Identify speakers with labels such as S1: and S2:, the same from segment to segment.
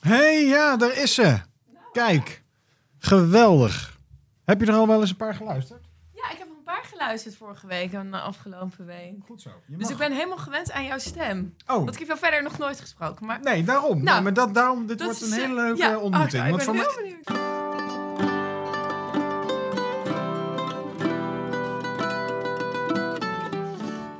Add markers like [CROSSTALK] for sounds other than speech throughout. S1: hey, ja, daar is ze. Kijk, geweldig. Heb je er al wel eens een paar geluisterd?
S2: Ja, ik heb een paar geluisterd vorige week en de afgelopen week.
S1: Goed zo. Je
S2: Dus
S1: mag.
S2: ik ben helemaal gewend aan jouw stem.
S1: Oh,
S2: Want ik heb jou verder nog nooit gesproken. Maar
S1: nee, daarom.
S2: Nou,
S1: Nee, maar dat, daarom, dit
S2: dat
S1: wordt
S2: is,
S1: een
S2: eh,
S1: hele leuke
S2: ja.
S1: eh, ontmoeting.
S2: Oh, nou,
S1: want
S2: ik
S1: voor
S2: ben
S1: mij-
S2: heel benieuwd.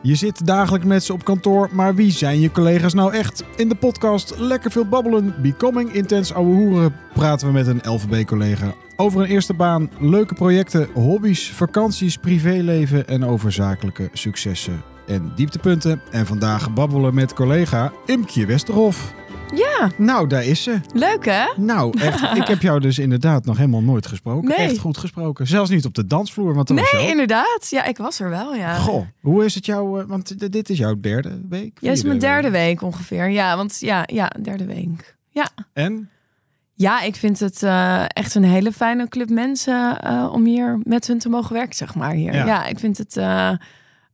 S1: Je zit dagelijks met ze op kantoor, maar wie zijn je collega's nou echt? In de podcast Lekker Veel Babbelen, Becoming Intense Ouwe Hoeren praten we met een LVB-collega. Over een eerste baan, leuke projecten, hobby's, vakanties, privéleven en over zakelijke successen en dieptepunten. En vandaag babbelen we met collega Imkje Westerhof.
S2: Ja,
S1: Nou, daar is ze.
S2: leuk hè?
S1: Nou,
S2: [LAUGHS]
S1: echt, ik heb jou dus inderdaad nog helemaal nooit gesproken.
S2: Nee.
S1: Echt goed gesproken. Zelfs niet op de dansvloer, want dat was
S2: Nee,
S1: jou.
S2: inderdaad. Ja, ik was er wel, ja.
S1: Goh, hoe is het jou? eh, Want d- dit is jouw derde week.
S2: Ja, het is
S1: vierde
S2: mijn derde week ongeveer. Ja, want ja, ja, derde week. Ja.
S1: En?
S2: Ja, ik vind het eh, echt een hele fijne club mensen eh, om hier met hun te mogen werken, zeg maar. Hier.
S1: Ja.
S2: Ja. ik vind het. eh,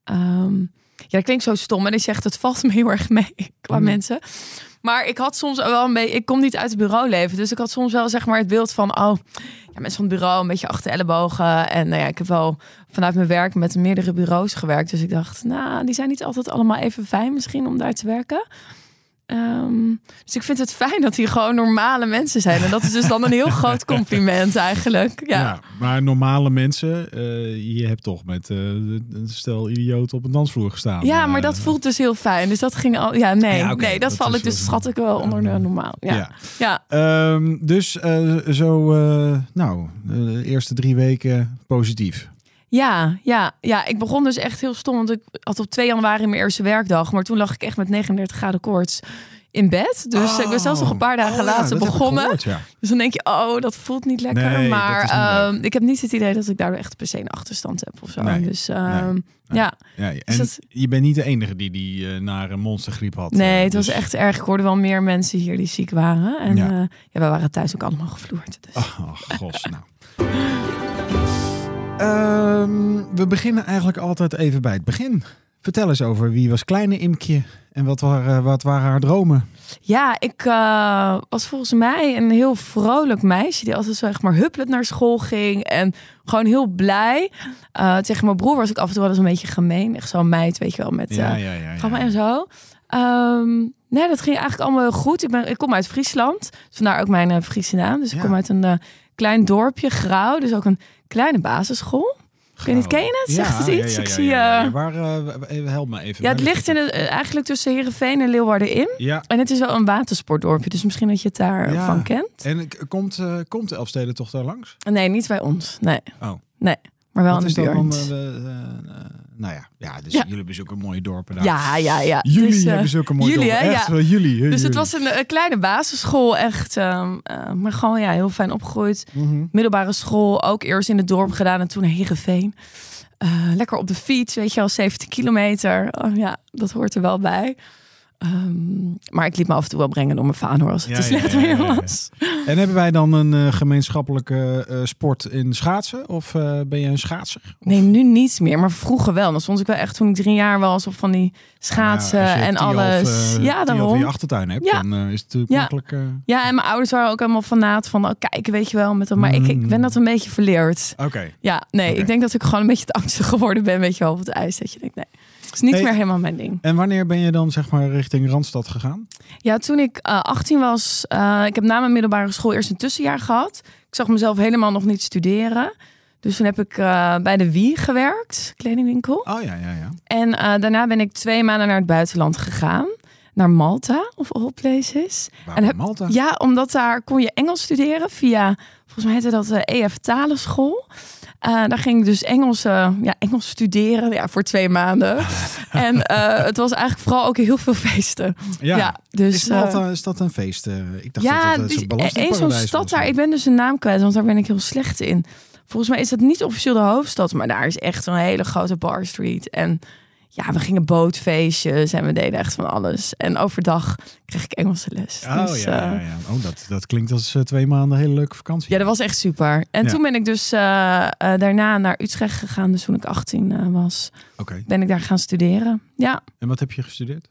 S2: ehm, ja, dat klinkt zo stom, maar ik zegt het valt me heel erg mee [LAUGHS] qua
S1: Mm.
S2: mensen. Maar ik had soms wel een beetje. Ik kom niet uit het bureauleven, dus ik had soms wel zeg maar het beeld van. Oh, ja, mensen van het bureau, een beetje achter de ellebogen. En nou ja, ik heb wel vanuit mijn werk met meerdere bureaus gewerkt. Dus ik dacht, nou, die zijn niet altijd allemaal even fijn misschien om daar te werken. Ehm, dus ik vind het fijn dat hier gewoon normale mensen zijn. En dat is dus dan een heel
S1: [LAUGHS]
S2: groot compliment eigenlijk. Ja,
S1: maar normale mensen, eh, je hebt toch met eh, een stel idioten op een dansvloer gestaan.
S2: ja maar dat
S1: Eh,
S2: voelt dus heel fijn. Dus dat ging al... Ja, nee,
S1: Ja, oké,
S2: nee dat,
S1: dat
S2: val
S1: is
S2: ik dus
S1: wel-
S2: schat ik wel onder de
S1: Ehm,
S2: normaal. Ja, ja.
S1: Ehm, dus eh, zo, eh, nou, eh, de eerste drie weken positief.
S2: Ja, ja, ja, ik begon dus echt heel stom. Want ik had op 2 januari mijn eerste werkdag. Maar toen lag ik echt met 39 graden koorts in bed. Dus ik ben zelfs nog een paar dagen
S1: Oh, ja,
S2: later
S1: dat heb ik
S2: begonnen.
S1: gehoord, ja.
S2: Dus dan denk je, oh, dat voelt niet lekker.
S1: Nee, dat
S2: maar
S1: is niet leuk.
S2: ehm, ik heb niet het idee dat ik daardoor echt per se een achterstand heb of zo.
S1: Nee,
S2: dus ehm,
S1: nee.
S2: ja,
S1: Ja, en
S2: Dus dat-
S1: je bent niet de enige die die eh, naar een monstergriep had.
S2: nee,
S1: eh,
S2: het was
S1: dus-
S2: echt erg. Ik hoorde wel meer mensen hier die ziek waren. En
S1: Ja.
S2: ja, ja wij waren thuis ook allemaal gevloerd. Dus.
S1: Oh, gos, nou. [LAUGHS] Ehm, we beginnen eigenlijk altijd even bij het begin. Vertel eens over wie was kleine Imkje en wat waren, eh, wat waren haar dromen?
S2: Ja, ik eh, was volgens mij een heel vrolijk meisje die altijd zo echt maar huppelend naar school ging en gewoon heel blij. Eh, tegen mijn broer was ik af en toe wel eens een beetje gemeen, echt zo'n meid, weet je wel, met eh,
S1: ja, ja.
S2: Gamma en zo. Ehm, nee, dat ging eigenlijk allemaal heel goed. Ik, ben, ik kom uit Friesland, dus vandaar ook mijn eh, Friese naam. Dus ik
S1: Ja.
S2: kom uit een eh, klein dorpje, Grauw, dus ook een kleine basisschool. Ken je het? Ken je het? Zegt het iets? Ik zie,
S1: ja,
S2: eh,
S1: ja. Waar, eh, w- help me even.
S2: Ja,
S1: Waar
S2: het ligt in het, eh, eigenlijk tussen Heerenveen en Leeuwarden in.
S1: Ja,
S2: En het is wel een watersportdorpje, dus misschien dat je het daar
S1: Ja.
S2: van kent.
S1: en k- komt, eh komt de Elfstedentocht daar langs?
S2: Nee, niet bij ons. Nee.
S1: Oh.
S2: Nee, maar wel
S1: Wat
S2: in
S1: is
S2: de
S1: dat dan?
S2: buurt.
S1: eh, we- eh, eh, nou ja, ja, dus
S2: Ja.
S1: jullie bezoeken mooie dorpen daar.
S2: ja, ja, ja.
S1: Jullie
S2: Dus, eh,
S1: hebben zulke mooie
S2: jullie,
S1: dorpen.
S2: hè?
S1: Echt,
S2: Ja.
S1: wel jullie. hè,
S2: dus het
S1: jullie.
S2: was een, eh, kleine basisschool, echt. ehm, eh, maar gewoon ja, heel fijn opgegroeid.
S1: Mhm.
S2: middelbare school ook eerst in het dorp gedaan en toen naar Heerenveen. Eh, lekker op de fiets, weet je wel, 70 kilometer. Oh, ja, dat hoort er wel bij. Ehm, maar ik liet me af en toe wel brengen door mijn vader als het
S1: Ja,
S2: te
S1: ja,
S2: slecht
S1: ja, ja,
S2: weer
S1: ja, ja.
S2: was.
S1: En hebben wij dan een eh, gemeenschappelijke eh, sport in schaatsen? Of eh, ben je een schaatser?
S2: Nee, nu niets meer, maar vroeger wel. Dan stond ik wel echt toen ik drie jaar was op van die schaatsen
S1: Nou, als je
S2: en
S1: tien of,
S2: alles.
S1: eh,
S2: ja,
S1: tien of in je
S2: daarom.
S1: achtertuin hebt,
S2: Ja.
S1: dan eh, is het natuurlijk
S2: Ja.
S1: makkelijk. eh,
S2: Ja, en mijn ouders waren ook helemaal fanaat van, oh, kijk, weet je wel, met dat. Maar ik, ik ben dat een beetje verleerd.
S1: Oké.
S2: Ja, nee,
S1: Mm. Oké.
S2: ik denk dat ik gewoon een beetje het oudste geworden ben, weet je wel, op het ijs. Dat je denkt, nee, het is niet
S1: Hey.
S2: meer helemaal mijn ding.
S1: En wanneer ben je dan zeg maar richting Randstad gegaan?
S2: Ja, toen ik eh, 18 was, eh, ik heb na mijn middelbare school eerst een tussenjaar gehad. Ik zag mezelf helemaal nog niet studeren. Dus toen heb ik eh, bij de Wie gewerkt, kledingwinkel.
S1: Oh ja, ja, ja.
S2: En eh, daarna ben ik twee maanden naar het buitenland gegaan. Naar Malta, of all places.
S1: Waarom
S2: heb-
S1: Malta?
S2: Ja, omdat daar kon je Engels studeren via, volgens mij heette dat de EF Talenschool. Eh, daar ging ik dus Engels, eh, ja, Engels studeren ja, voor twee maanden. en eh, het was eigenlijk vooral ook heel veel feesten. Ja, dus,
S1: is,
S2: eh,
S1: Malta, is dat een feest? eh? ik dacht dat het
S2: dus
S1: een belastingparadijs
S2: één zo'n
S1: was,
S2: stad daar.
S1: maar-
S2: Ik ben dus een naam kwijt, want daar ben ik heel slecht in. Volgens mij is dat niet officieel de hoofdstad, maar daar is echt een hele grote bar street. En ja, we gingen bootfeestjes en we deden echt van alles. En overdag kreeg ik Engelse les.
S1: Oh
S2: Dus,
S1: ja, ja,
S2: eh,
S1: ja. Oh, dat, dat klinkt als eh, twee maanden hele leuke vakantie.
S2: ja, dat was echt super. En
S1: Ja.
S2: toen ben ik dus eh, eh, daarna naar Utrecht gegaan. Dus toen ik 18 eh, was,
S1: Oké.
S2: ben ik daar gaan studeren. Ja,
S1: En wat heb je gestudeerd?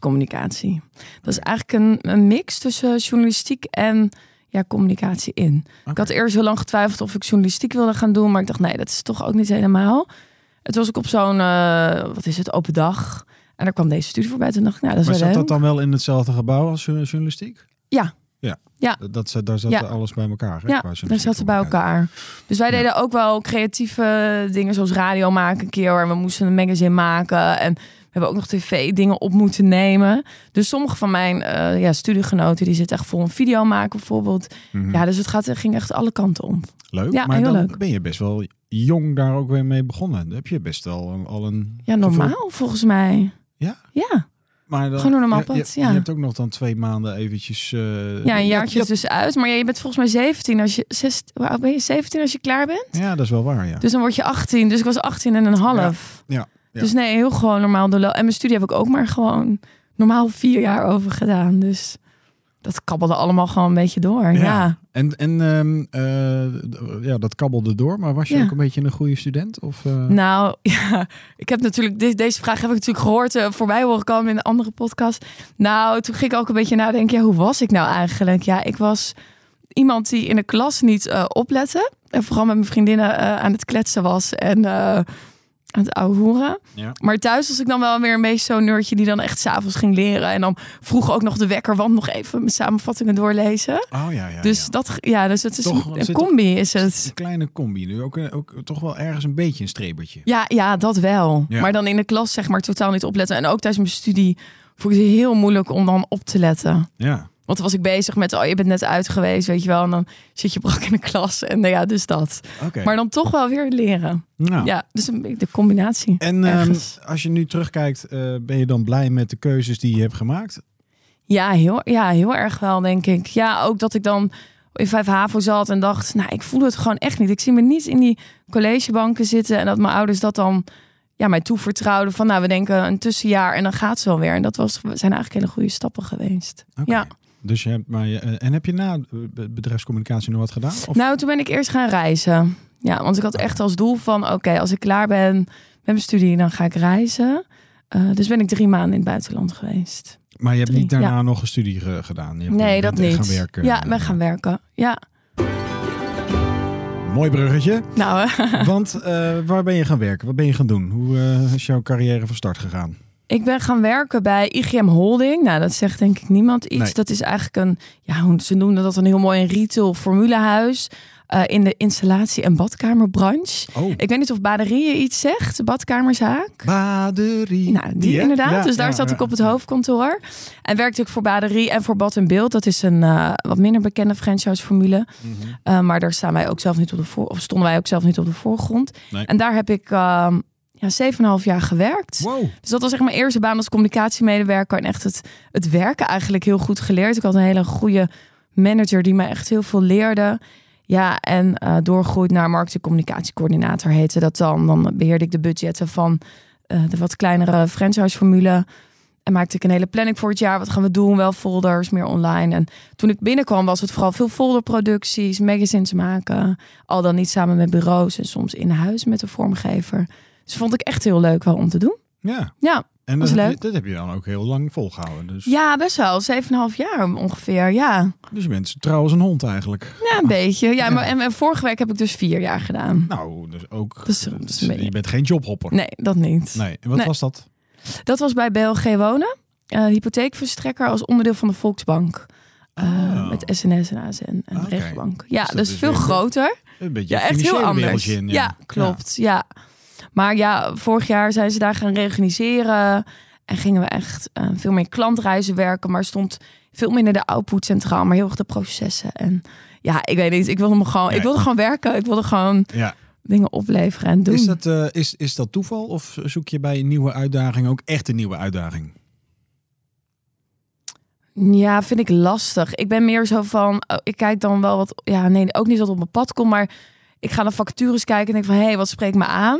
S2: bedrijfscommunicatie. Dat is eigenlijk een, een mix tussen journalistiek en ja, communicatie in. Ik had eerst heel lang getwijfeld of ik journalistiek wilde gaan doen, maar ik dacht nee, dat is toch ook niet helemaal. Het was ik op zo'n, eh, wat is het, open dag. En daar kwam deze studie voorbij. Toen dacht ik, nou, dat is
S1: Maar
S2: wel
S1: zat
S2: leuk.
S1: dat dan wel in hetzelfde gebouw als jour- journalistiek?
S2: Ja.
S1: Ja.
S2: Ja.
S1: Dat, dat, zat- daar zat
S2: Ja.
S1: alles bij elkaar. Hè?
S2: Ja,
S1: qua
S2: Dan
S1: journalistiek
S2: zaten ze bij elkaar. Dus wij
S1: Ja.
S2: deden ook wel creatieve dingen zoals radio maken een keer. En we moesten een magazine maken. En we hebben ook nog tv-dingen op moeten nemen. Dus sommige van mijn eh, ja, studiegenoten die zitten echt voor een video maken bijvoorbeeld.
S1: Mhm.
S2: Ja, dus het gaat, ging echt alle kanten om.
S1: Leuk,
S2: Ja,
S1: maar
S2: heel
S1: dan
S2: leuk.
S1: ben je best wel jong daar ook weer mee begonnen. Dan heb je best wel een- al een...
S2: Ja, normaal volgens mij.
S1: Ja?
S2: Ja,
S1: Maar dan,
S2: Gewoon een normaal
S1: je- je-
S2: pad, ja.
S1: Je hebt ook nog dan twee maanden eventjes... eh,
S2: ja een jaartje
S1: Ja,
S2: dus uit. Maar ja, je bent volgens mij 17 als je, zes, hoe oud ben je 17 als je klaar bent.
S1: ja, dat is wel waar, ja.
S2: Dus dan word je 18. Dus ik was 18 en een half.
S1: Ja, ja.
S2: Dus nee, heel gewoon normaal doorlopen. En mijn studie heb ik ook maar gewoon normaal vier jaar over gedaan. Dus dat kabbelde allemaal gewoon een beetje door. Ja.
S1: Ja. En, en ehm, eh, d- ja, dat kabbelde door, maar was je
S2: Ja.
S1: ook een beetje een goede student? Of, eh?
S2: Nou, [LAUGHS] ja, ik heb natuurlijk de- deze vraag heb ik natuurlijk gehoord eh, voorbij horen komen in een andere podcast. Nou, toen ging ik ook een beetje nadenken. Ja, hoe was ik nou eigenlijk? Ja, ik was iemand die in de klas niet eh, oplette en vooral met mijn vriendinnen eh, aan het kletsen was en eh, aan het ouwe hoeren.
S1: Ja.
S2: Maar thuis was ik dan wel weer een beetje zo'n nerdje die dan echt s'avonds ging leren. En dan vroeg ook nog de wekker, want nog even mijn samenvattingen doorlezen.
S1: Oh ja, ja.
S2: dus
S1: ja.
S2: dat, ja, dus het is
S1: Toch,
S2: een,
S1: er
S2: een
S1: zit-
S2: combi is het.
S1: Een kleine combi nu, ook, een- ook toch wel ergens een beetje een strebertje.
S2: Ja, ja, dat wel.
S1: Ja.
S2: Maar dan in de klas zeg maar totaal niet opletten. En ook tijdens mijn studie vond ik het heel moeilijk om dan op te letten.
S1: Ja.
S2: Want dan was ik bezig met, oh je bent net uit geweest, weet je wel. En dan zit je brak in de klas en nou ja, dus dat.
S1: Oké.
S2: Maar dan toch wel weer leren.
S1: Nou.
S2: Ja, dus een beetje de combinatie.
S1: En ehm,
S2: Ergens.
S1: als je nu terugkijkt, eh, ben je dan blij met de keuzes die je hebt gemaakt?
S2: Ja heel, ja, heel erg wel, denk ik. Ja, ook dat ik dan in Vijf Havo zat en dacht, nou, ik voel het gewoon echt niet. Ik zie me niet in die collegebanken zitten. En dat mijn ouders dat dan ja, mij toevertrouwden van, nou, we denken een tussenjaar en dan gaat ze wel weer. En dat was, zijn eigenlijk hele goede stappen geweest.
S1: Oké.
S2: Ja.
S1: Dus je hebt, maar je, eh, en heb je na eh, be- bedrijfscommunicatie nog wat gedaan? Of,
S2: Nou, toen ben ik eerst gaan reizen. Ja, want ik had echt als doel van, oké, als ik klaar ben met mijn studie, dan ga ik reizen. Eh, dus ben ik drie maanden in het buitenland geweest.
S1: maar je hebt niet
S2: drie,
S1: daarna nog een studie ge- gedaan? Je hebt-
S2: Nee,
S1: je
S2: dat
S1: bent echt
S2: niet.
S1: Gaan werken. eh,
S2: Ja, ben gaan werken. Ja,
S1: Mooi
S2: [LAUGHS]
S1: bruggetje.
S2: nou, eh,
S1: Want eh, waar ben je gaan werken? Wat ben je gaan doen? Hoe eh, is jouw carrière van start gegaan?
S2: Ik ben gaan werken bij IGM Holding. Nou, dat zegt denk ik niemand iets.
S1: Nee.
S2: Dat is eigenlijk een, ja, hoe- ze noemden dat een heel mooi retail formulehuis. eh, in de installatie- en badkamerbranche.
S1: Oh,
S2: Ik weet niet of Baderieën iets zegt, de badkamerzaak.
S1: baderie.
S2: Nou, die
S1: hè?
S2: inderdaad.
S1: Ja,
S2: dus daar
S1: ja,
S2: zat
S1: ja.
S2: ik op het hoofdkantoor. En werkte ik voor Baderie en voor Bad en Beeld. Dat is een eh, wat minder bekende franchise-formule.
S1: Mhm.
S2: Eh, maar daar staan wij ook zelf niet op de voor, of stonden wij ook zelf niet op de voorgrond.
S1: Nee.
S2: En daar heb ik ehm ja, 7,5 jaar gewerkt.
S1: Wow.
S2: Dus dat was echt mijn eerste baan als communicatiemedewerker. En echt het, het werken eigenlijk heel goed geleerd. Ik had een hele goede manager die mij echt heel veel leerde. Ja, en eh doorgroeit naar markt- en communicatiecoördinator heette dat dan. Dan beheerde ik de budgetten van eh, de wat kleinere franchise-formule. En maakte ik een hele planning voor het jaar. Wat gaan we doen? Wel folders, meer online. En toen ik binnenkwam was het vooral veel folderproducties, magazines maken. Al dan niet samen met bureaus en soms in huis met de vormgever. Dus vond ik echt heel leuk wel om te doen.
S1: Ja.
S2: Ja,
S1: En
S2: Was
S1: dat, heb je-
S2: leuk.
S1: dat heb je dan ook heel lang volgehouden. Dus,
S2: ja best wel. 7,5 jaar ongeveer. Ja,
S1: dus je bent trouwens een hond eigenlijk.
S2: ja een beetje. Ja,
S1: Ja.
S2: maar, en, en vorige week heb ik dus vier jaar gedaan.
S1: Nou, dus ook.
S2: Dus, eh, dat is een beetje-
S1: je bent geen jobhopper.
S2: Nee, dat niet.
S1: Nee. En wat
S2: Nee.
S1: was dat?
S2: Dat was bij BLG Wonen. eh, hypotheekverstrekker als onderdeel van de Volksbank. Eh,
S1: Oh.
S2: Met SNS en ASN en de
S1: Oké.
S2: Regenbank. Ja,
S1: Dus dat
S2: dus
S1: is
S2: veel
S1: weer-
S2: groter.
S1: Een beetje
S2: Ja,
S1: een
S2: echt heel
S1: financiële
S2: anders.
S1: wereldje in,
S2: ja. klopt. Ja. Maar ja, vorig jaar zijn ze daar gaan reorganiseren. En gingen we echt eh, veel meer klantreizen werken. Maar stond veel minder de output centraal. Maar heel erg de processen. En ja, ik weet niet. Ik wilde, me gewoon,
S1: Nee.
S2: ik wilde gewoon werken. Ik wilde gewoon
S1: Ja. Ja.
S2: dingen opleveren en doen.
S1: Is, dat, eh, is, is dat toeval of zoek je bij een nieuwe uitdaging ook echt een nieuwe uitdaging?
S2: Ja, vind ik lastig. Ik ben meer zo van, oh, ik kijk dan wel wat, ja, nee, ook niet wat op mijn pad komt, maar ik ga naar vacatures kijken en denk van, hé, hey, wat spreekt me aan?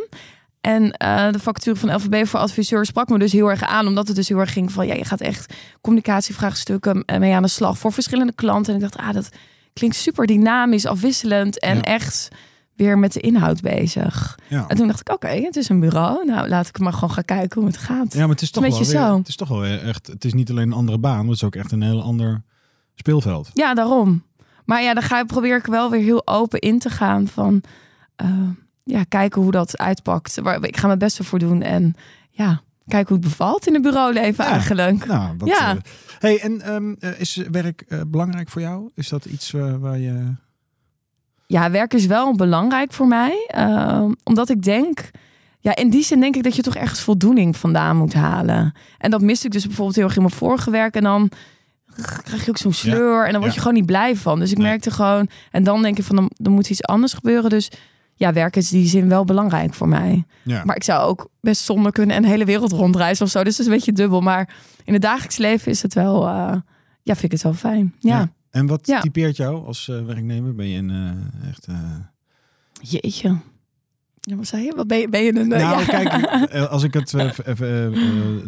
S2: En eh, de vacature van LVB voor adviseur sprak me dus heel erg aan, omdat het dus heel erg ging van, ja, je gaat echt communicatievraagstukken eh, mee aan de slag voor verschillende klanten. En ik dacht, ah, dat klinkt super dynamisch, afwisselend en
S1: Ja.
S2: echt weer met de inhoud bezig.
S1: Ja.
S2: En toen dacht ik, oké, het is een bureau. Nou, laat ik maar gewoon gaan kijken hoe het gaat.
S1: Ja, maar het is toch
S2: Een
S1: wel
S2: beetje
S1: weer-
S2: zo.
S1: Het is toch wel echt. Het is niet alleen een andere baan, maar het is ook echt een heel ander speelveld.
S2: Ja, daarom. Maar ja, dan ga, probeer ik wel weer heel open in te gaan van... eh, ja, kijken hoe dat uitpakt. Waar, ik ga mijn best ervoor doen en ja, kijken hoe het bevalt in het bureauleven
S1: Ja.
S2: eigenlijk.
S1: Nou, dat,
S2: Ja.
S1: eh, hey, en ehm, eh, is werk eh, belangrijk voor jou? Is dat iets eh, waar je.
S2: Ja, werk is wel belangrijk voor mij. ehm, omdat ik denk... Ja, in die zin denk ik dat je toch ergens voldoening vandaan moet halen. En dat miste ik dus bijvoorbeeld heel erg in mijn vorige werk. En dan krijg je ook zo'n sleur. En dan word je
S1: ja.
S2: gewoon niet blij van. Dus ik
S1: Nee.
S2: merkte gewoon... En dan denk ik van, dan, er moet iets anders gebeuren. Dus ja, werk is in die zin wel belangrijk voor mij.
S1: Ja.
S2: Maar ik zou ook best zonder kunnen en de hele wereld rondreizen of zo. Dus het is een beetje dubbel. Maar in het dagelijks leven is het wel... eh, ja, vind ik het wel fijn. ja.
S1: Ja. En wat
S2: Ja.
S1: typeert jou als eh, werknemer? Ben je een eh, echt. eh,
S2: Jeetje. Ja, wat zei je? Wat ben je, ben je een... eh,
S1: Nou,
S2: [LAUGHS] ja.
S1: kijk, eh, als ik het eh, even, eh, eh,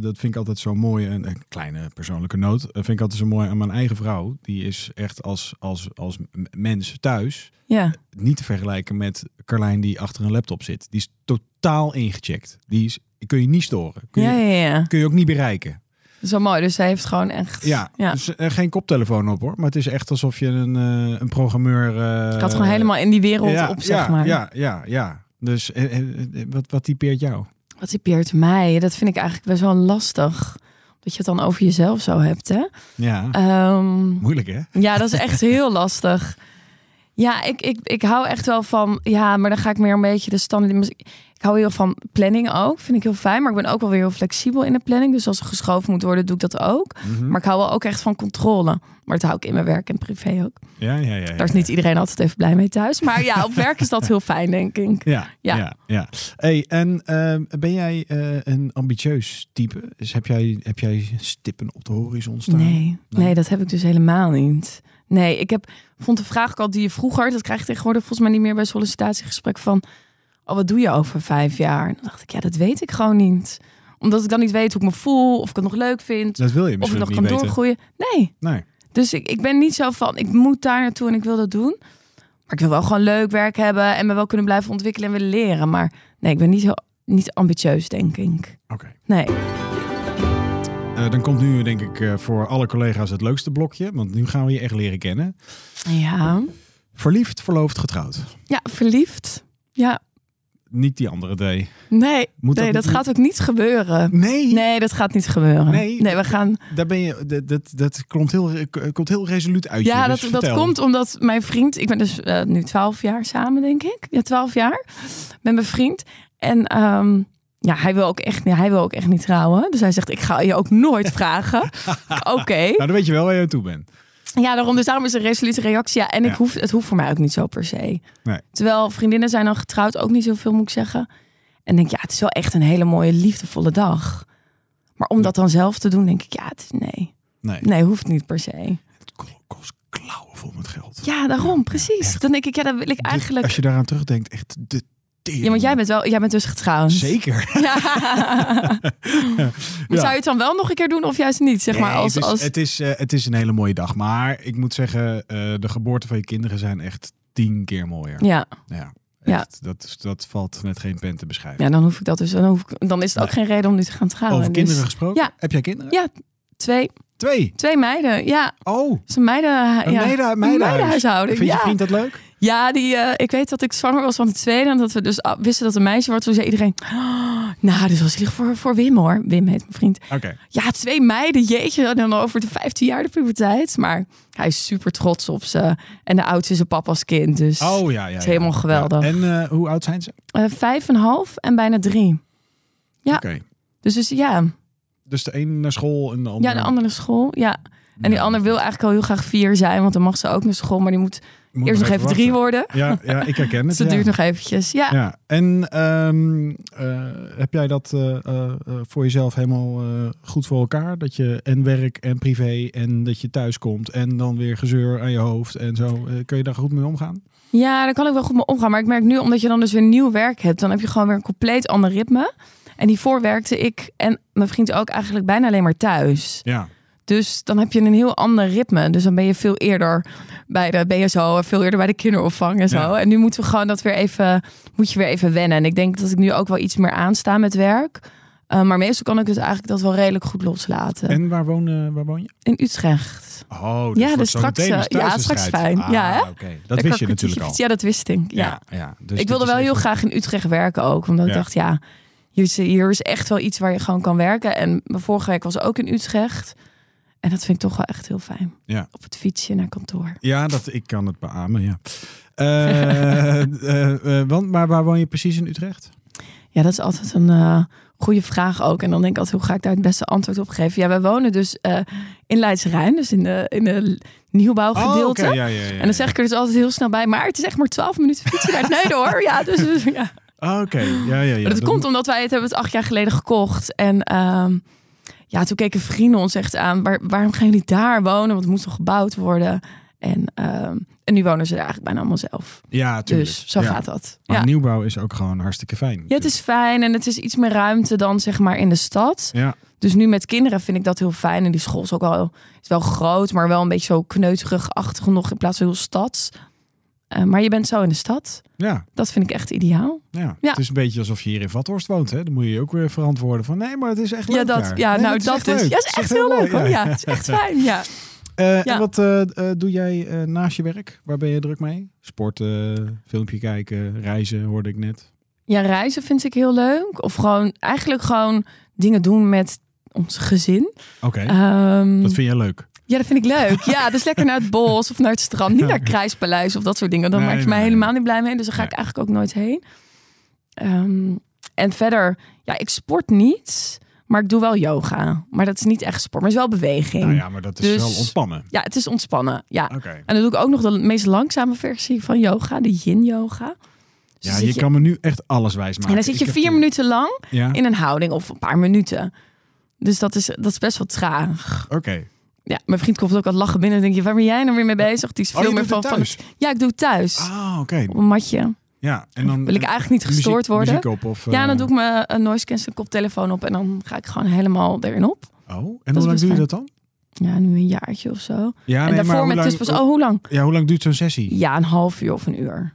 S1: dat vind ik altijd zo mooi, een, een kleine persoonlijke noot, eh, vind ik altijd zo mooi aan mijn eigen vrouw. Die is echt als, als, als m- mens thuis
S2: Ja,
S1: niet te vergelijken met Carlijn die achter een laptop zit. Die is totaal ingecheckt. Die is, kun je niet storen. Kun je,
S2: ja, ja, ja.
S1: kun je ook niet bereiken.
S2: Dat is wel mooi. Dus zij heeft gewoon echt...
S1: Ja,
S2: ja.
S1: dus eh, geen koptelefoon op hoor. Maar het is echt alsof je een, eh, een programmeur... eh,
S2: gaat gewoon helemaal in die wereld
S1: ja,
S2: op, zeg
S1: ja,
S2: maar.
S1: Ja, ja, ja. Dus eh, eh, eh, wat, wat typeert jou?
S2: Wat typeert mij? Dat vind ik eigenlijk best wel lastig. Dat je het dan over jezelf zo hebt, hè?
S1: Ja,
S2: Ehm,
S1: moeilijk hè?
S2: ja, dat is echt
S1: [LAUGHS]
S2: heel lastig. Ja, ik, ik, ik hou echt wel van... Ja, maar dan ga ik meer een beetje de standaard... Ik hou heel van planning ook. Vind ik heel fijn. Maar ik ben ook wel weer heel flexibel in de planning. Dus als er geschoven moet worden, doe ik dat ook.
S1: Mhm.
S2: Maar ik hou wel ook echt van controle. Maar dat hou ik in mijn werk en privé ook.
S1: Ja, ja, ja.
S2: Daar is
S1: ja.
S2: niet iedereen altijd even blij mee thuis. Maar ja, op werk is dat heel fijn, denk ik.
S1: Ja, ja,
S2: Ja.
S1: ja. Hey, en ehm, ben jij eh, een ambitieus type? Dus heb jij, heb jij stippen op de horizon staan?
S2: Nee,
S1: Nee.
S2: nee, dat heb ik dus helemaal niet. Nee, ik heb, vond de vraag ook al die je vroeger, dat krijg je tegenwoordig volgens mij niet meer bij sollicitatiegesprek van, oh, wat doe je over vijf jaar? En dan dacht ik, ja, dat weet ik gewoon niet. Omdat ik dan niet weet hoe ik me voel, of ik het nog leuk vind,
S1: Dat wil je
S2: of ik
S1: misschien
S2: nog
S1: niet
S2: kan
S1: weten.
S2: doorgroeien. Nee,
S1: Nee.
S2: dus ik, ik ben niet zo van, ik moet daar naartoe en ik wil dat doen. Maar ik wil wel gewoon leuk werk hebben en me wel kunnen blijven ontwikkelen en willen leren. Maar nee, ik ben niet, heel, niet ambitieus, denk ik.
S1: Oké.
S2: Nee.
S1: Eh, dan komt nu denk ik eh, voor alle collega's het leukste blokje, want nu gaan we je echt leren kennen.
S2: Ja.
S1: Verliefd, verloofd, getrouwd.
S2: Ja, verliefd. Ja,
S1: Niet die andere twee.
S2: nee.
S1: Moet
S2: nee, dat,
S1: dat-
S2: gaat ook niet gebeuren.
S1: Nee,
S2: Nee, dat gaat niet gebeuren.
S1: Nee.
S2: we gaan.
S1: daar ben je. Dat, dat, dat komt, heel, eh, komt heel resoluut uit.
S2: Ja,
S1: je,
S2: dat,
S1: dus
S2: dat
S1: vertel.
S2: komt omdat mijn vriend. Ik ben dus eh, nu 12 jaar samen, denk ik. Ja, 12 jaar. Met mijn vriend. En ehm, ja, hij wil, ook echt, ja, hij wil ook echt niet trouwen. Dus hij zegt: Ik ga je ook nooit [LAUGHS] vragen. Oké.
S1: Nou, dan weet je wel waar je aan toe bent.
S2: Ja, daarom. Dus daarom is een resolute reactie. Ja, en
S1: Ja.
S2: Ik hoef, het hoeft voor mij ook niet zo per se.
S1: Nee.
S2: Terwijl vriendinnen zijn al getrouwd, ook niet zoveel moet ik zeggen. En denk, ja, het is wel echt een hele mooie, liefdevolle dag. Maar om dat dan zelf te doen, denk ik, ja, het is nee.
S1: Nee.
S2: Nee, hoeft niet per se.
S1: Het kost klauwen vol met geld.
S2: Ja, daarom, precies.
S1: echt.
S2: Dan denk ik, ja, dan wil ik
S1: Dit-
S2: eigenlijk...
S1: Als je daaraan terugdenkt, echt de tering.
S2: Ja, want jij bent, wel, jij bent dus getrouwd.
S1: Zeker. [LAUGHS]
S2: Ja. Maar Zou je het dan wel nog een keer doen of juist niet? [LAUGHS] Zeg maar,
S1: Nee,
S2: als,
S1: het, is,
S2: als...
S1: Het, is, eh, het is een hele mooie dag. Maar ik moet zeggen, eh, de geboorte van je kinderen zijn echt tien keer mooier.
S2: Ja.
S1: Ja.
S2: Ja.
S1: Echt, Dat, is- dat valt met geen pen te beschrijven.
S2: ja, dan hoef ik dat dus. Dan, hoef ik, dan is het ook geen reden om nu te gaan trouwen.
S1: Over
S2: Dus
S1: kinderen gesproken?
S2: ja.
S1: Heb jij kinderen?
S2: Ja. twee,
S1: Twee?
S2: twee meiden, ja.
S1: Oh,
S2: Het is een meiden,
S1: een
S2: ja.
S1: mede-
S2: Een
S1: meidenhuis.
S2: meidenhuishouding,
S1: Vind je
S2: ja.
S1: vriend dat leuk?
S2: Ja, die, eh, ik weet dat ik zwanger was van de tweede. En dat we dus ah, wisten dat het een meisje wordt. Toen zei iedereen, "Oh, nou, dus was zielig voor, voor Wim hoor. Wim heet mijn vriend.
S1: Oké.
S2: Ja, twee meiden, jeetje. en Dan over de 15 jaar de puberteit. Maar hij is super trots op ze. En de oudste is een papa als kind. Dus
S1: Oh ja, ja. ja.
S2: is helemaal geweldig.
S1: Ja. En eh, hoe oud zijn ze?
S2: eh, vijf en een half en bijna drie. Ja.
S1: Oké.
S2: Dus, dus ja.
S1: Dus de een naar school en de ander.
S2: ja, de andere school. Ja. En die ander wil eigenlijk al heel graag vier zijn. Want dan mag ze ook naar school. Maar die moet,
S1: Moet
S2: eerst nog even
S1: wachten.
S2: drie worden.
S1: Ja, ja, ik
S2: [LAUGHS]
S1: herken het.
S2: Dus dat
S1: ja.
S2: duurt nog eventjes. Ja.
S1: Ja, en ehm, eh, heb jij dat eh, eh, eh, voor jezelf helemaal eh, goed voor elkaar? Dat je en werk en privé en dat je thuis komt en dan weer gezeur aan je hoofd en zo. Eh, kun je daar goed mee omgaan?
S2: Ja, daar kan ik wel goed mee omgaan. Maar ik merk nu, omdat je dan dus weer nieuw werk hebt, dan heb je gewoon weer een compleet ander ritme. En hiervoor werkte ik en mijn vriend ook eigenlijk bijna alleen maar thuis.
S1: Ja.
S2: Dus dan heb je een heel ander ritme. Dus dan ben je veel eerder bij de BSO, en veel eerder bij de kinderopvang en zo.
S1: Ja.
S2: En nu moeten we gewoon dat weer even, moet je weer even wennen. En ik denk dat ik nu ook wel iets meer aansta met werk. Eh, maar meestal kan ik dus eigenlijk dat wel redelijk goed loslaten.
S1: En waar woon, eh, waar woon je?
S2: In Utrecht.
S1: Oh,
S2: Ja,
S1: wordt
S2: dus
S1: zo
S2: straks,
S1: meteen
S2: eh,
S1: dus thuis
S2: ja,
S1: een
S2: straks
S1: strijd.
S2: fijn. Ja,
S1: Ah,
S2: hè?
S1: oké. Dat wist je
S2: Lekker
S1: natuurlijk al.
S2: Ja, dat wist ik. Ja.
S1: ja, dus
S2: ik
S1: dit
S2: wilde
S1: is
S2: wel
S1: even-
S2: heel graag in Utrecht werken ook. Omdat
S1: Ja.
S2: ik dacht, ja, hier is, hier is echt wel iets waar je gewoon kan werken. En mijn vorige week was ook in Utrecht. En dat vind ik toch wel echt heel fijn.
S1: Ja.
S2: Op het fietsje naar kantoor.
S1: Ja, dat, ik kan het beamen,
S2: [LAUGHS]
S1: ja. Eh, eh, eh, want, maar waar woon je precies in Utrecht?
S2: Ja, dat is altijd een eh, goede vraag ook. En dan denk ik altijd, hoe ga ik daar het beste antwoord op geven? Ja, wij wonen dus eh, in Leidsrijn. Dus in de, in de nieuwbouwgedeelte.
S1: Oh, oké, ja, ja, ja,
S2: Oh, En dan zeg ik er dus altijd heel snel bij. Maar het is echt maar 12 minuten
S1: [LAUGHS]
S2: fietsen naar het Neude hoor. Ja, dus dus, ja.
S1: ja. Oh, Oké, ja, ja, ja.
S2: Maar dat komt omdat wij het hebben het acht jaar geleden gekocht. En ehm, ja, toen keken vrienden ons echt aan. Waar, waarom gaan jullie daar wonen? Want het moet nog gebouwd worden. En, ehm, en nu wonen ze er eigenlijk bijna allemaal zelf.
S1: Ja, tuurlijk.
S2: Dus zo
S1: Ja.
S2: gaat dat.
S1: Maar
S2: Ja.
S1: nieuwbouw is ook gewoon hartstikke fijn.
S2: ja, het is fijn en het is iets meer ruimte dan zeg maar in de stad.
S1: Ja,
S2: Dus nu met kinderen vind ik dat heel fijn. En die school is ook wel, is wel groot, maar wel een beetje zo kneuterigachtig nog in plaats van heel stads. Eh, maar je bent zo in de stad.
S1: ja,
S2: Dat vind ik echt ideaal.
S1: ja.
S2: Ja.
S1: Het is een beetje alsof je hier in Vathorst woont. Hè? Dan moet je je ook weer verantwoorden van... Nee, maar het is echt leuk
S2: Ja, dat,
S1: daar.
S2: ja
S1: Nee,
S2: nou
S1: is
S2: dat
S1: echt
S2: dus.
S1: leuk.
S2: Ja, het is echt heel leuk.
S1: mooi,
S2: hoor. Ja, het is echt fijn. Ja.
S1: Eh, En
S2: Ja.
S1: wat eh, eh, doe jij eh, naast je werk? Waar ben je druk mee? Sporten, filmpje kijken, reizen hoorde ik net.
S2: Ja, reizen vind ik heel leuk. Of gewoon, eigenlijk gewoon dingen doen met ons gezin.
S1: Oké,
S2: Ehm,
S1: dat vind jij leuk?
S2: Ja, dat vind ik leuk. Ja, dus lekker naar het bos of naar het strand. Niet naar het Krijspaleis of dat soort dingen. Dan
S1: Nee,
S2: maak je
S1: nee,
S2: mij
S1: nee.
S2: helemaal niet blij mee. Dus daar ga
S1: Nee.
S2: ik eigenlijk ook nooit heen. Ehm, en verder, ja, ik sport niet. Maar ik doe wel yoga. Maar dat is niet echt sport, maar het is wel beweging.
S1: Nou
S2: ja.
S1: ja, maar dat is
S2: Dus-
S1: wel ontspannen.
S2: het is ontspannen. Ja.
S1: Oké.
S2: En dan doe ik ook nog de meest langzame versie van yoga, de yin-yoga.
S1: Ja,
S2: Dus dan
S1: je,
S2: zit je-
S1: kan me nu echt alles wijs maken.
S2: En dan zit je vier minuten lang
S1: Ja,
S2: in een houding of een paar minuten. Dus dat is, dat is best wel traag.
S1: oké. Oh,
S2: Ja, mijn vriend komt ook wat lachen binnen. Dan denk je, waar ben jij nou weer mee bezig? Die is
S1: Oh,
S2: veel
S1: je
S2: meer
S1: doet
S2: van,
S1: het
S2: van.
S1: thuis?
S2: Ja, ik doe het thuis.
S1: Ah, oké.
S2: Op een matje.
S1: Ja, en dan... eh,
S2: Wil ik eigenlijk niet
S1: muziek-
S2: gestoord worden?
S1: Muziek op of...
S2: ja, dan
S1: eh,
S2: doe ik mijn eh, noise cancelling koptelefoon op. En dan ga ik gewoon helemaal erin op.
S1: Oh, en hoe lang
S2: best
S1: doe je
S2: fijn.
S1: dat dan?
S2: Ja, nu een jaartje of zo.
S1: Ja,
S2: en
S1: nee, maar
S2: daarvoor
S1: hoe
S2: met
S1: lang,
S2: tussenpas. Oh, hoe lang?
S1: Ja, hoe lang duurt zo'n sessie?
S2: Ja, een half uur of een uur.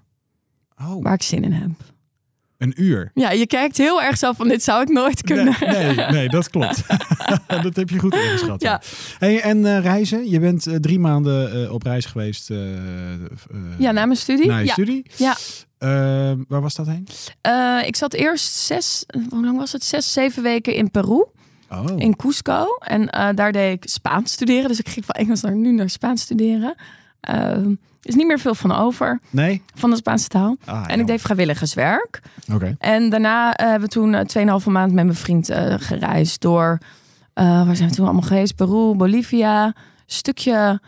S1: Oh,
S2: Waar ik zin in heb.
S1: een uur.
S2: Ja, je kijkt heel erg zo van, dit zou ik nooit kunnen.
S1: Nee, nee, nee, dat klopt. [LAUGHS] dat heb je goed ingeschat. ja.
S2: Ja.
S1: Hey, en eh, reizen? Je bent eh, drie maanden eh, op reis geweest. eh, eh,
S2: Ja, na mijn studie.
S1: na je
S2: ja.
S1: studie.
S2: Ja.
S1: Eh, waar was dat heen?
S2: Eh, ik zat eerst zes, hoe lang was het? Zes, zeven weken in Peru.
S1: Oh,
S2: in Cusco. En eh, daar deed ik Spaans studeren. Dus ik ging van Engels naar nu naar Spaans studeren. Er is niet meer veel van over,
S1: nee?
S2: van de Spaanse taal.
S1: Ah,
S2: En
S1: ja.
S2: ik deed vrijwilligerswerk.
S1: Oké.
S2: En daarna eh, hebben we toen eh, 2,5 maand met mijn vriend eh, gereisd door... eh, waar zijn we toen allemaal geweest? Peru, Bolivia, een stukje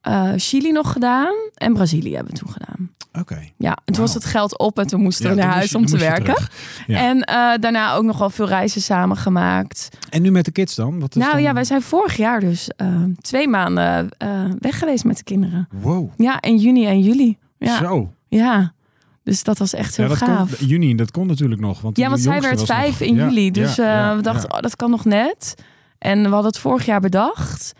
S2: eh, Chili nog gedaan. En Brazilië hebben we toen gedaan.
S1: Oké.
S2: Ja, en toen
S1: Wauw.
S2: was het geld op en toen moesten we
S1: Ja,
S2: naar
S1: dan
S2: huis
S1: moest je-
S2: om
S1: dan
S2: te
S1: moest je
S2: werken.
S1: terug. ja.
S2: En eh, daarna ook nog wel veel reizen samen gemaakt.
S1: En nu met de kids dan? Wat is
S2: Nou
S1: dan-
S2: ja, wij zijn vorig jaar dus eh, twee maanden eh, weg geweest met de kinderen.
S1: Wow,
S2: Ja, in juni en juli. Ja,
S1: zo.
S2: ja. dus dat was echt
S1: Ja,
S2: heel
S1: dat
S2: gaaf.
S1: kon, juni, dat kon natuurlijk nog. Want
S2: ja, want
S1: de
S2: zij
S1: jongste
S2: werd
S1: was
S2: vijf
S1: nog-
S2: in
S1: Ja,
S2: juli. Dus
S1: ja, ja,
S2: eh, we dachten,
S1: ja.
S2: oh, dat kan nog net. En we hadden het vorig jaar bedacht.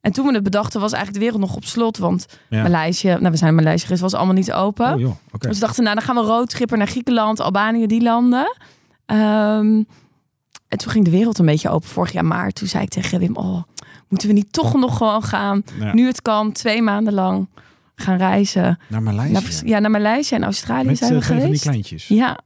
S2: En toen we het bedachten, was eigenlijk de wereld nog op slot. Want
S1: Ja.
S2: Maleisië, nou we zijn in Maleisië geweest, was allemaal niet open.
S1: Oh, joh, oké.
S2: Dus we dachten, nou, dan gaan we roadtrippen naar Griekenland, Albanië, die landen. Ehm, en toen ging de wereld een beetje open vorig jaar maart. Toen zei ik tegen Wim, oh, moeten we niet toch nog gewoon gaan?
S1: Nou Ja.
S2: Nu het kan, twee maanden lang gaan reizen.
S1: Naar Maleisië.
S2: Naar, ja, naar Maleisië en Australië
S1: Met eh,
S2: zijn we
S1: twee van die
S2: geweest.
S1: kleintjes.
S2: Ja,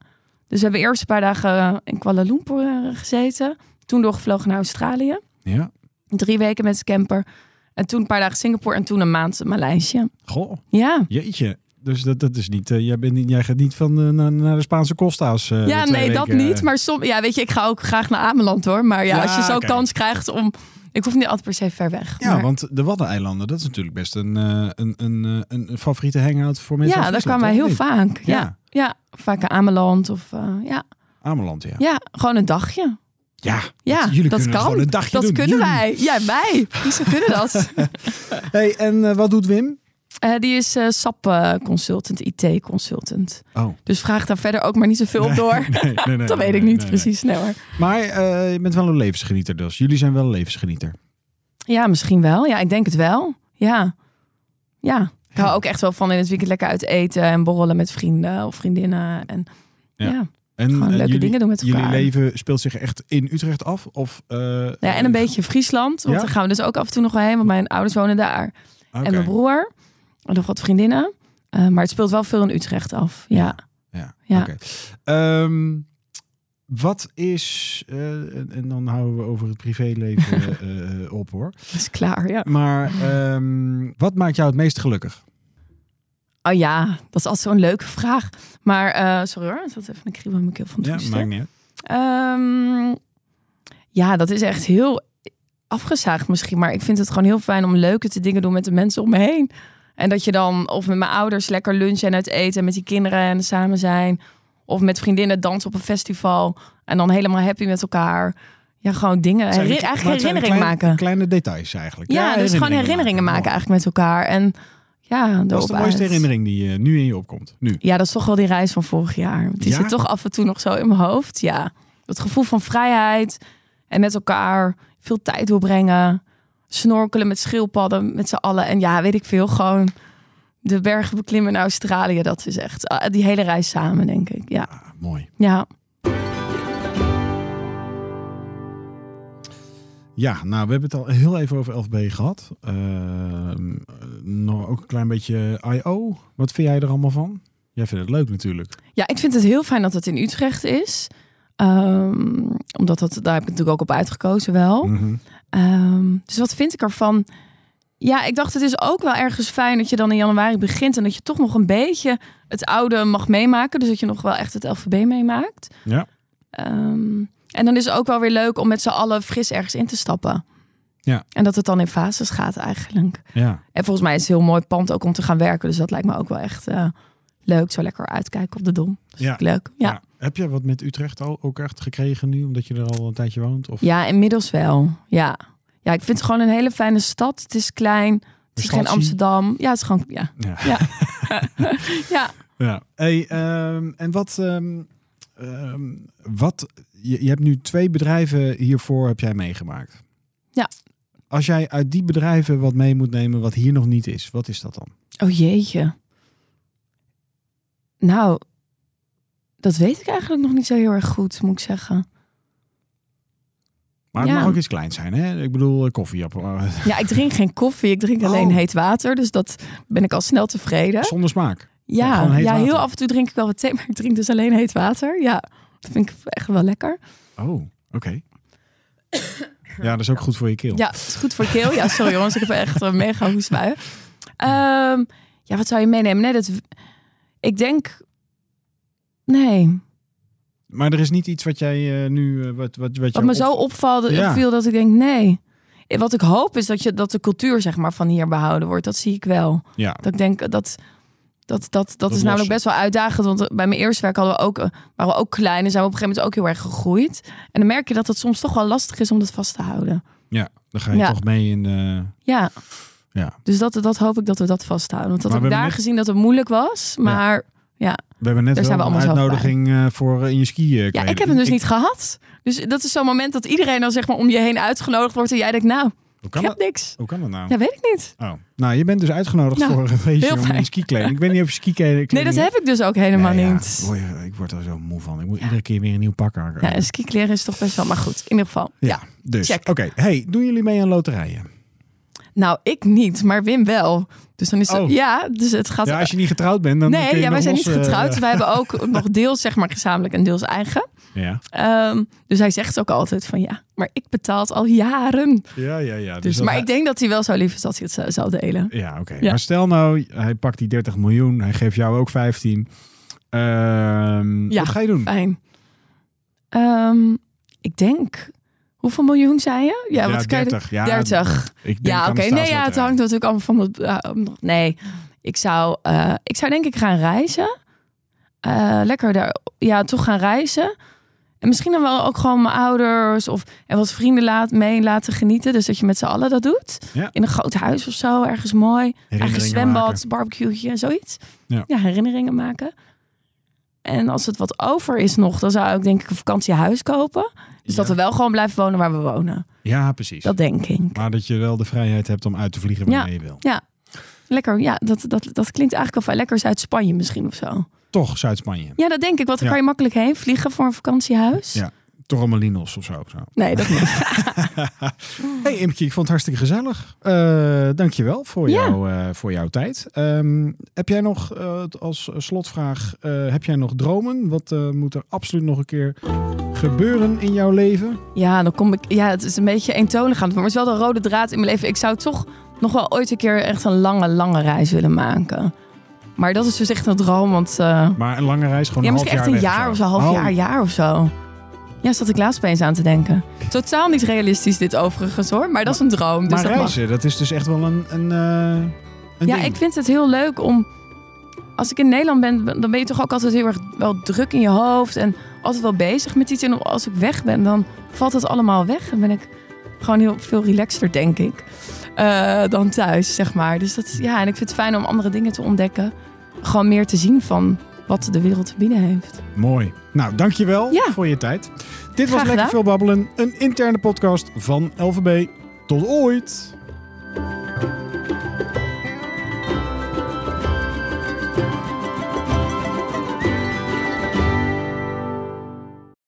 S2: dus we hebben eerst een paar dagen eh, in Kuala Lumpur eh, gezeten. Toen doorgevlogen naar Australië.
S1: Ja.
S2: Drie weken met de camper. En toen een paar dagen Singapore en toen een maand Maleisië.
S1: Goh,
S2: Ja.
S1: jeetje. Dus dat, dat is niet, eh, jij, bent niet, jij gaat niet van eh, naar, naar de Spaanse Costa's. eh,
S2: Ja,
S1: de twee
S2: nee, dat
S1: weken, eh.
S2: niet. Maar soms, ja, weet je, ik ga ook graag naar Ameland hoor. Maar ja,
S1: Ja,
S2: als je zo
S1: oké.
S2: kans krijgt om. Ik hoef niet altijd per se ver weg.
S1: Ja,
S2: maar-
S1: want de Waddeneilanden, dat is natuurlijk best een, eh, een, een, eh, een, een favoriete hangout voor mensen.
S2: ja
S1: uit
S2: daar
S1: Friesland,
S2: kwamen wij heel
S1: of niet?
S2: vaak. Ja.
S1: Ja.
S2: ja. vaak naar Ameland of eh, ja.
S1: Ameland, ja.
S2: ja, gewoon een dagje.
S1: Ja,
S2: Ja,
S1: want jullie
S2: dat
S1: kunnen
S2: kan.
S1: gewoon een dagje
S2: Dat
S1: doen.
S2: kunnen
S1: Jullie.
S2: wij. Ja, wij. Friesen kunnen dat.
S1: [LAUGHS] Hey, en eh, wat doet Wim?
S2: Eh, die is eh, SAP eh, consultant, IT consultant.
S1: Oh,
S2: [LAUGHS] Dus vraag daar verder ook maar niet zoveel op door.
S1: [LAUGHS] nee, nee, nee,
S2: dat weet
S1: nee,
S2: ik
S1: nee,
S2: niet
S1: nee,
S2: precies. Nee hoor.
S1: nee. Maar eh, je bent wel een levensgenieter dus. Jullie zijn wel een levensgenieter.
S2: Ja, misschien wel. Ja, ik denk het wel. Ja. Ja. Ik hou Nou, ook echt wel van in het weekend lekker uit eten en borrelen met vrienden of vriendinnen. En
S1: Ja.
S2: ja.
S1: En
S2: Gewoon
S1: eh,
S2: leuke
S1: jullie,
S2: dingen doen met
S1: jullie
S2: elkaar.
S1: leven speelt zich echt in Utrecht af? Of, eh,
S2: Ja, en een beetje Friesland, want
S1: Ja?
S2: daar gaan we dus ook af en toe nog wel heen, want mijn ouders wonen daar.
S1: Oké.
S2: En mijn broer, en nog wat vriendinnen. Eh, maar het speelt wel veel in Utrecht af. Ja.
S1: Ja,
S2: Ja.
S1: oké. Ehm, wat is, eh, en, en dan houden we over het privéleven
S2: [LAUGHS]
S1: eh, eh, op hoor.
S2: Dat is klaar, ja.
S1: Maar ehm, wat maakt jou het meest gelukkig?
S2: Oh ja, dat is altijd zo'n leuke vraag. Maar, eh, sorry hoor, ik zat even een kriebel in mijn keel van het hoesten.
S1: niet uit.
S2: Ehm, ja, dat is echt heel afgezaagd misschien. Maar ik vind het gewoon heel fijn om leuke te dingen doen met de mensen om me heen. En dat je dan of met mijn ouders lekker lunchen en uit eten. En met die kinderen en samen zijn. Of met vriendinnen dansen op een festival. En dan helemaal happy met elkaar. Ja, gewoon dingen.
S1: Het zijn-
S2: Herin-
S1: maar het zijn
S2: Eh, eigenlijk herinnering
S1: klein-
S2: maken.
S1: Kleine details eigenlijk.
S2: ja, dus gewoon herinneringen maken
S1: Mooi.
S2: eigenlijk met elkaar. En ja,
S1: Dat is de
S2: erop
S1: mooiste
S2: uit.
S1: herinnering die eh, nu in je opkomt. Nu.
S2: Ja, dat is toch wel die reis van vorig jaar. Die
S1: Ja?
S2: zit toch af en toe nog zo in mijn hoofd. Ja, het gevoel van vrijheid en met elkaar veel tijd doorbrengen. Snorkelen met schildpadden met z'n allen. En ja, weet ik veel, gewoon de bergen beklimmen in Australië. Dat is echt ah, die hele reis samen, denk ik. Ja,
S1: Ah, mooi.
S2: ja.
S1: Ja, nou, we hebben het al heel even over 11B gehad. Ehm, nog ook een klein beetje I.O. Wat vind jij er allemaal van? Jij vindt het leuk natuurlijk.
S2: ja ik vind het heel fijn dat het in Utrecht is. Ehm, omdat dat, daar heb ik natuurlijk ook op uitgekozen wel.
S1: Mhm.
S2: Ehm, dus wat vind ik ervan? Ja, ik dacht het is ook wel ergens fijn dat je dan in januari begint en dat je toch nog een beetje het oude mag meemaken. Dus dat je nog wel echt het LVB meemaakt.
S1: Ja.
S2: Ehm, en dan is het ook wel weer leuk om met z'n allen fris ergens in te stappen.
S1: Ja.
S2: En dat het dan in fases gaat eigenlijk.
S1: Ja.
S2: En volgens mij is het een heel mooi pand ook om te gaan werken. Dus dat lijkt me ook wel echt eh, leuk. Zo lekker uitkijken op de dom. Dat
S1: Ja.
S2: vind ik leuk. Ja.
S1: Ja. Heb je wat met Utrecht al ook echt gekregen nu, omdat je er al een tijdje woont? Of
S2: Ja, inmiddels wel. Ja. ja, ik vind het gewoon een hele fijne stad. Het is klein. Het is geen
S1: Verstandzie.
S2: Amsterdam. Ja, het is gewoon. Ja.
S1: Ja. [LAUGHS]
S2: ja.
S1: Ja. Hey, ehm, en wat, ehm, ehm, wat je, je hebt nu twee bedrijven hiervoor heb jij meegemaakt.
S2: Ja.
S1: Als jij uit die bedrijven wat mee moet nemen wat hier nog niet is, wat is dat dan?
S2: Oh jeetje. Nou, dat weet ik eigenlijk nog niet zo heel erg goed, moet ik zeggen.
S1: Maar het
S2: Ja.
S1: mag ook iets kleins zijn, hè? Ik bedoel, eh, koffieappel. eh,
S2: Ja, ik drink geen koffie. Ik drink alleen
S1: Oh.
S2: heet water. Dus dat ben ik al snel tevreden.
S1: Zonder smaak.
S2: Ja,
S1: gewoon heet
S2: ja heel
S1: water.
S2: af en toe drink ik wel wat thee, maar ik drink dus alleen heet water. Ja, dat vind ik echt wel lekker.
S1: Oh, oké. [COUGHS] Ja, dat is ook goed voor je keel.
S2: Ja, het is goed voor keel. Ja, sorry jongens, ik heb echt een mega hoestbuien. Ehm, ja, wat zou je meenemen? Nee, dat... Ik denk... Nee,
S1: Maar er is niet iets wat jij eh, nu eh, wat wat wat,
S2: Wat
S1: jou
S2: me zo opvalde,
S1: Ja.
S2: viel dat ik denk, nee. Eh, Wat ik hoop is dat, je, dat de cultuur zeg maar, van hier behouden wordt. Dat zie ik wel.
S1: op- Ja.
S2: Dat ik denk dat. Dat, dat, dat, is
S1: lossen.
S2: namelijk best wel uitdagend. Want bij mijn eerste werk hadden we ook, eh, waren we ook klein en zijn we op een gegeven moment ook heel erg gegroeid. En dan merk je dat het soms toch wel lastig is om dat vast te houden.
S1: Ja, dan ga je
S2: Ja.
S1: toch mee in eh, de
S2: Ja,
S1: ja.
S2: dus dat, dat hoop ik dat we dat vasthouden. Want dat
S1: Maar
S2: heb ik
S1: we hebben
S2: daar
S1: net-
S2: gezien dat het moeilijk was. Maar
S1: We hebben net
S2: Daar
S1: wel
S2: zijn we
S1: een
S2: allemaal zelf
S1: uitnodiging eh, voor eh, in je skiën.
S2: ja, ik heb hem dus niet gehad. Dus dat is zo'n moment dat iedereen dan zeg maar om je heen uitgenodigd wordt. En jij denkt, nou,
S1: Hoe kan,
S2: ik heb
S1: dat,
S2: niks.
S1: hoe kan dat nou?
S2: Ja, weet ik niet.
S1: Oh. Nou, je bent dus uitgenodigd
S2: Nou,
S1: voor een feestje
S2: heel
S1: om in
S2: fijn.
S1: skikleding. Ik weet niet of je skikleding...
S2: Nee, dat heb ik dus ook helemaal
S1: Nee, ja.
S2: niet.
S1: Oei, ik word er zo moe van. Ik moet iedere keer weer een nieuw pak aan.
S2: Ja, en skikleren is toch best wel, maar goed, in ieder geval. Ja.
S1: dus.
S2: check.
S1: Oké, hey, doen jullie mee aan loterijen?
S2: Nou, ik niet, maar Wim wel. Dus dan is het,
S1: Oh.
S2: ja, dus het gaat...
S1: Ja, als je niet getrouwd bent, dan kun
S2: nee,
S1: je
S2: ja, wij
S1: nog
S2: zijn niet
S1: los, eh,
S2: getrouwd. Wij hebben
S1: [LAUGHS]
S2: ook nog deels, zeg maar, gezamenlijk en deels eigen.
S1: ja.
S2: Ehm, dus hij zegt ook altijd van ja, maar ik betaal het al jaren. Dus,
S1: ja, ja, ja. Dus, dat-
S2: maar ik denk dat hij wel zo lief is dat hij het zou- zou delen.
S1: Ja, oké.
S2: Ja.
S1: Maar stel nou, hij pakt die 30 miljoen. Hij geeft jou ook 15. Ehm,
S2: Ja,
S1: Wat ga je doen?
S2: Fijn. Ehm, ik denk... Hoeveel miljoen zei je? Ja, wat kan je...
S1: 30. Ja,
S2: 30.
S1: Ik denk
S2: Ja,
S1: aan
S2: oké.
S1: de
S2: Nee, ja, het
S1: staatsloterij.
S2: hangt natuurlijk allemaal van het. ja, om- nee, ik zou, eh, ik zou denk ik gaan reizen. Eh, lekker daar, ja, toch gaan reizen. En misschien dan wel ook gewoon mijn ouders of en wat vrienden laat, mee laten genieten. Dus dat je met z'n allen dat doet.
S1: Ja.
S2: In een groot huis of zo, ergens mooi. Eigen
S1: Herinneringen
S2: zwembad,
S1: maken.
S2: barbecueetje en zoiets.
S1: Ja.
S2: herinneringen maken. En als het wat over is nog, dan zou ik denk ik een vakantiehuis kopen. Dus dat
S1: Ja.
S2: we wel gewoon blijven wonen waar we wonen.
S1: Ja, precies.
S2: Dat denk ik.
S1: Maar dat je wel de vrijheid hebt om uit te vliegen wanneer je wil.
S2: Ja, lekker. Ja, dat, dat, dat klinkt eigenlijk al fijn. Lekker is uit Spanje misschien of zo.
S1: Toch Zuid-Spanje.
S2: Ja, dat denk ik. Want dan
S1: Ja.
S2: kan je makkelijk heen vliegen voor een vakantiehuis.
S1: Ja. Torremolinos of zo. zo.
S2: Nee, dat
S1: [LAUGHS]
S2: niet.
S1: Hey Imke, ik vond het hartstikke gezellig. Eh dankjewel voor,
S2: Ja.
S1: jou, eh, voor jouw tijd. Ehm, heb jij nog eh, als slotvraag, eh, heb jij nog dromen? Wat eh, moet er absoluut nog een keer gebeuren in jouw leven?
S2: Ja, dan kom ik. Ja, het is een beetje eentonig aan het worden. Maar het is wel de rode draad in mijn leven. Ik zou toch nog wel ooit een keer echt een lange, lange reis willen maken. Maar dat is dus echt een droom. Want eh,
S1: Maar een lange reis, gewoon
S2: ja,
S1: een half
S2: misschien
S1: jaar
S2: echt een
S1: weg
S2: jaar of zo, half
S1: Oh,
S2: jaar, jaar of zo. Ja, zat ik laatst opeens aan te denken. Totaal niet realistisch dit overigens hoor, maar dat is een droom. Dus
S1: Maar
S2: dat mag.
S1: reizen, dat is dus echt wel een, een, eh, een
S2: Ja,
S1: ding.
S2: ik vind het heel leuk om. Als ik in Nederland ben, dan ben je toch ook altijd heel erg wel druk in je hoofd. En altijd wel bezig met iets. En als ik weg ben, dan valt het allemaal weg. En ben ik gewoon heel veel relaxter, denk ik. eh, dan thuis, zeg maar. Dus dat is- ja, en ik vind het fijn om andere dingen te ontdekken. Gewoon meer te zien van wat de wereld te bieden heeft.
S1: Mooi. Nou, dankjewel
S2: Ja.
S1: voor je tijd. Dit was
S2: Graag
S1: Lekker
S2: gedaan.
S1: Veel Babbelen, een interne podcast van LVB. Tot ooit!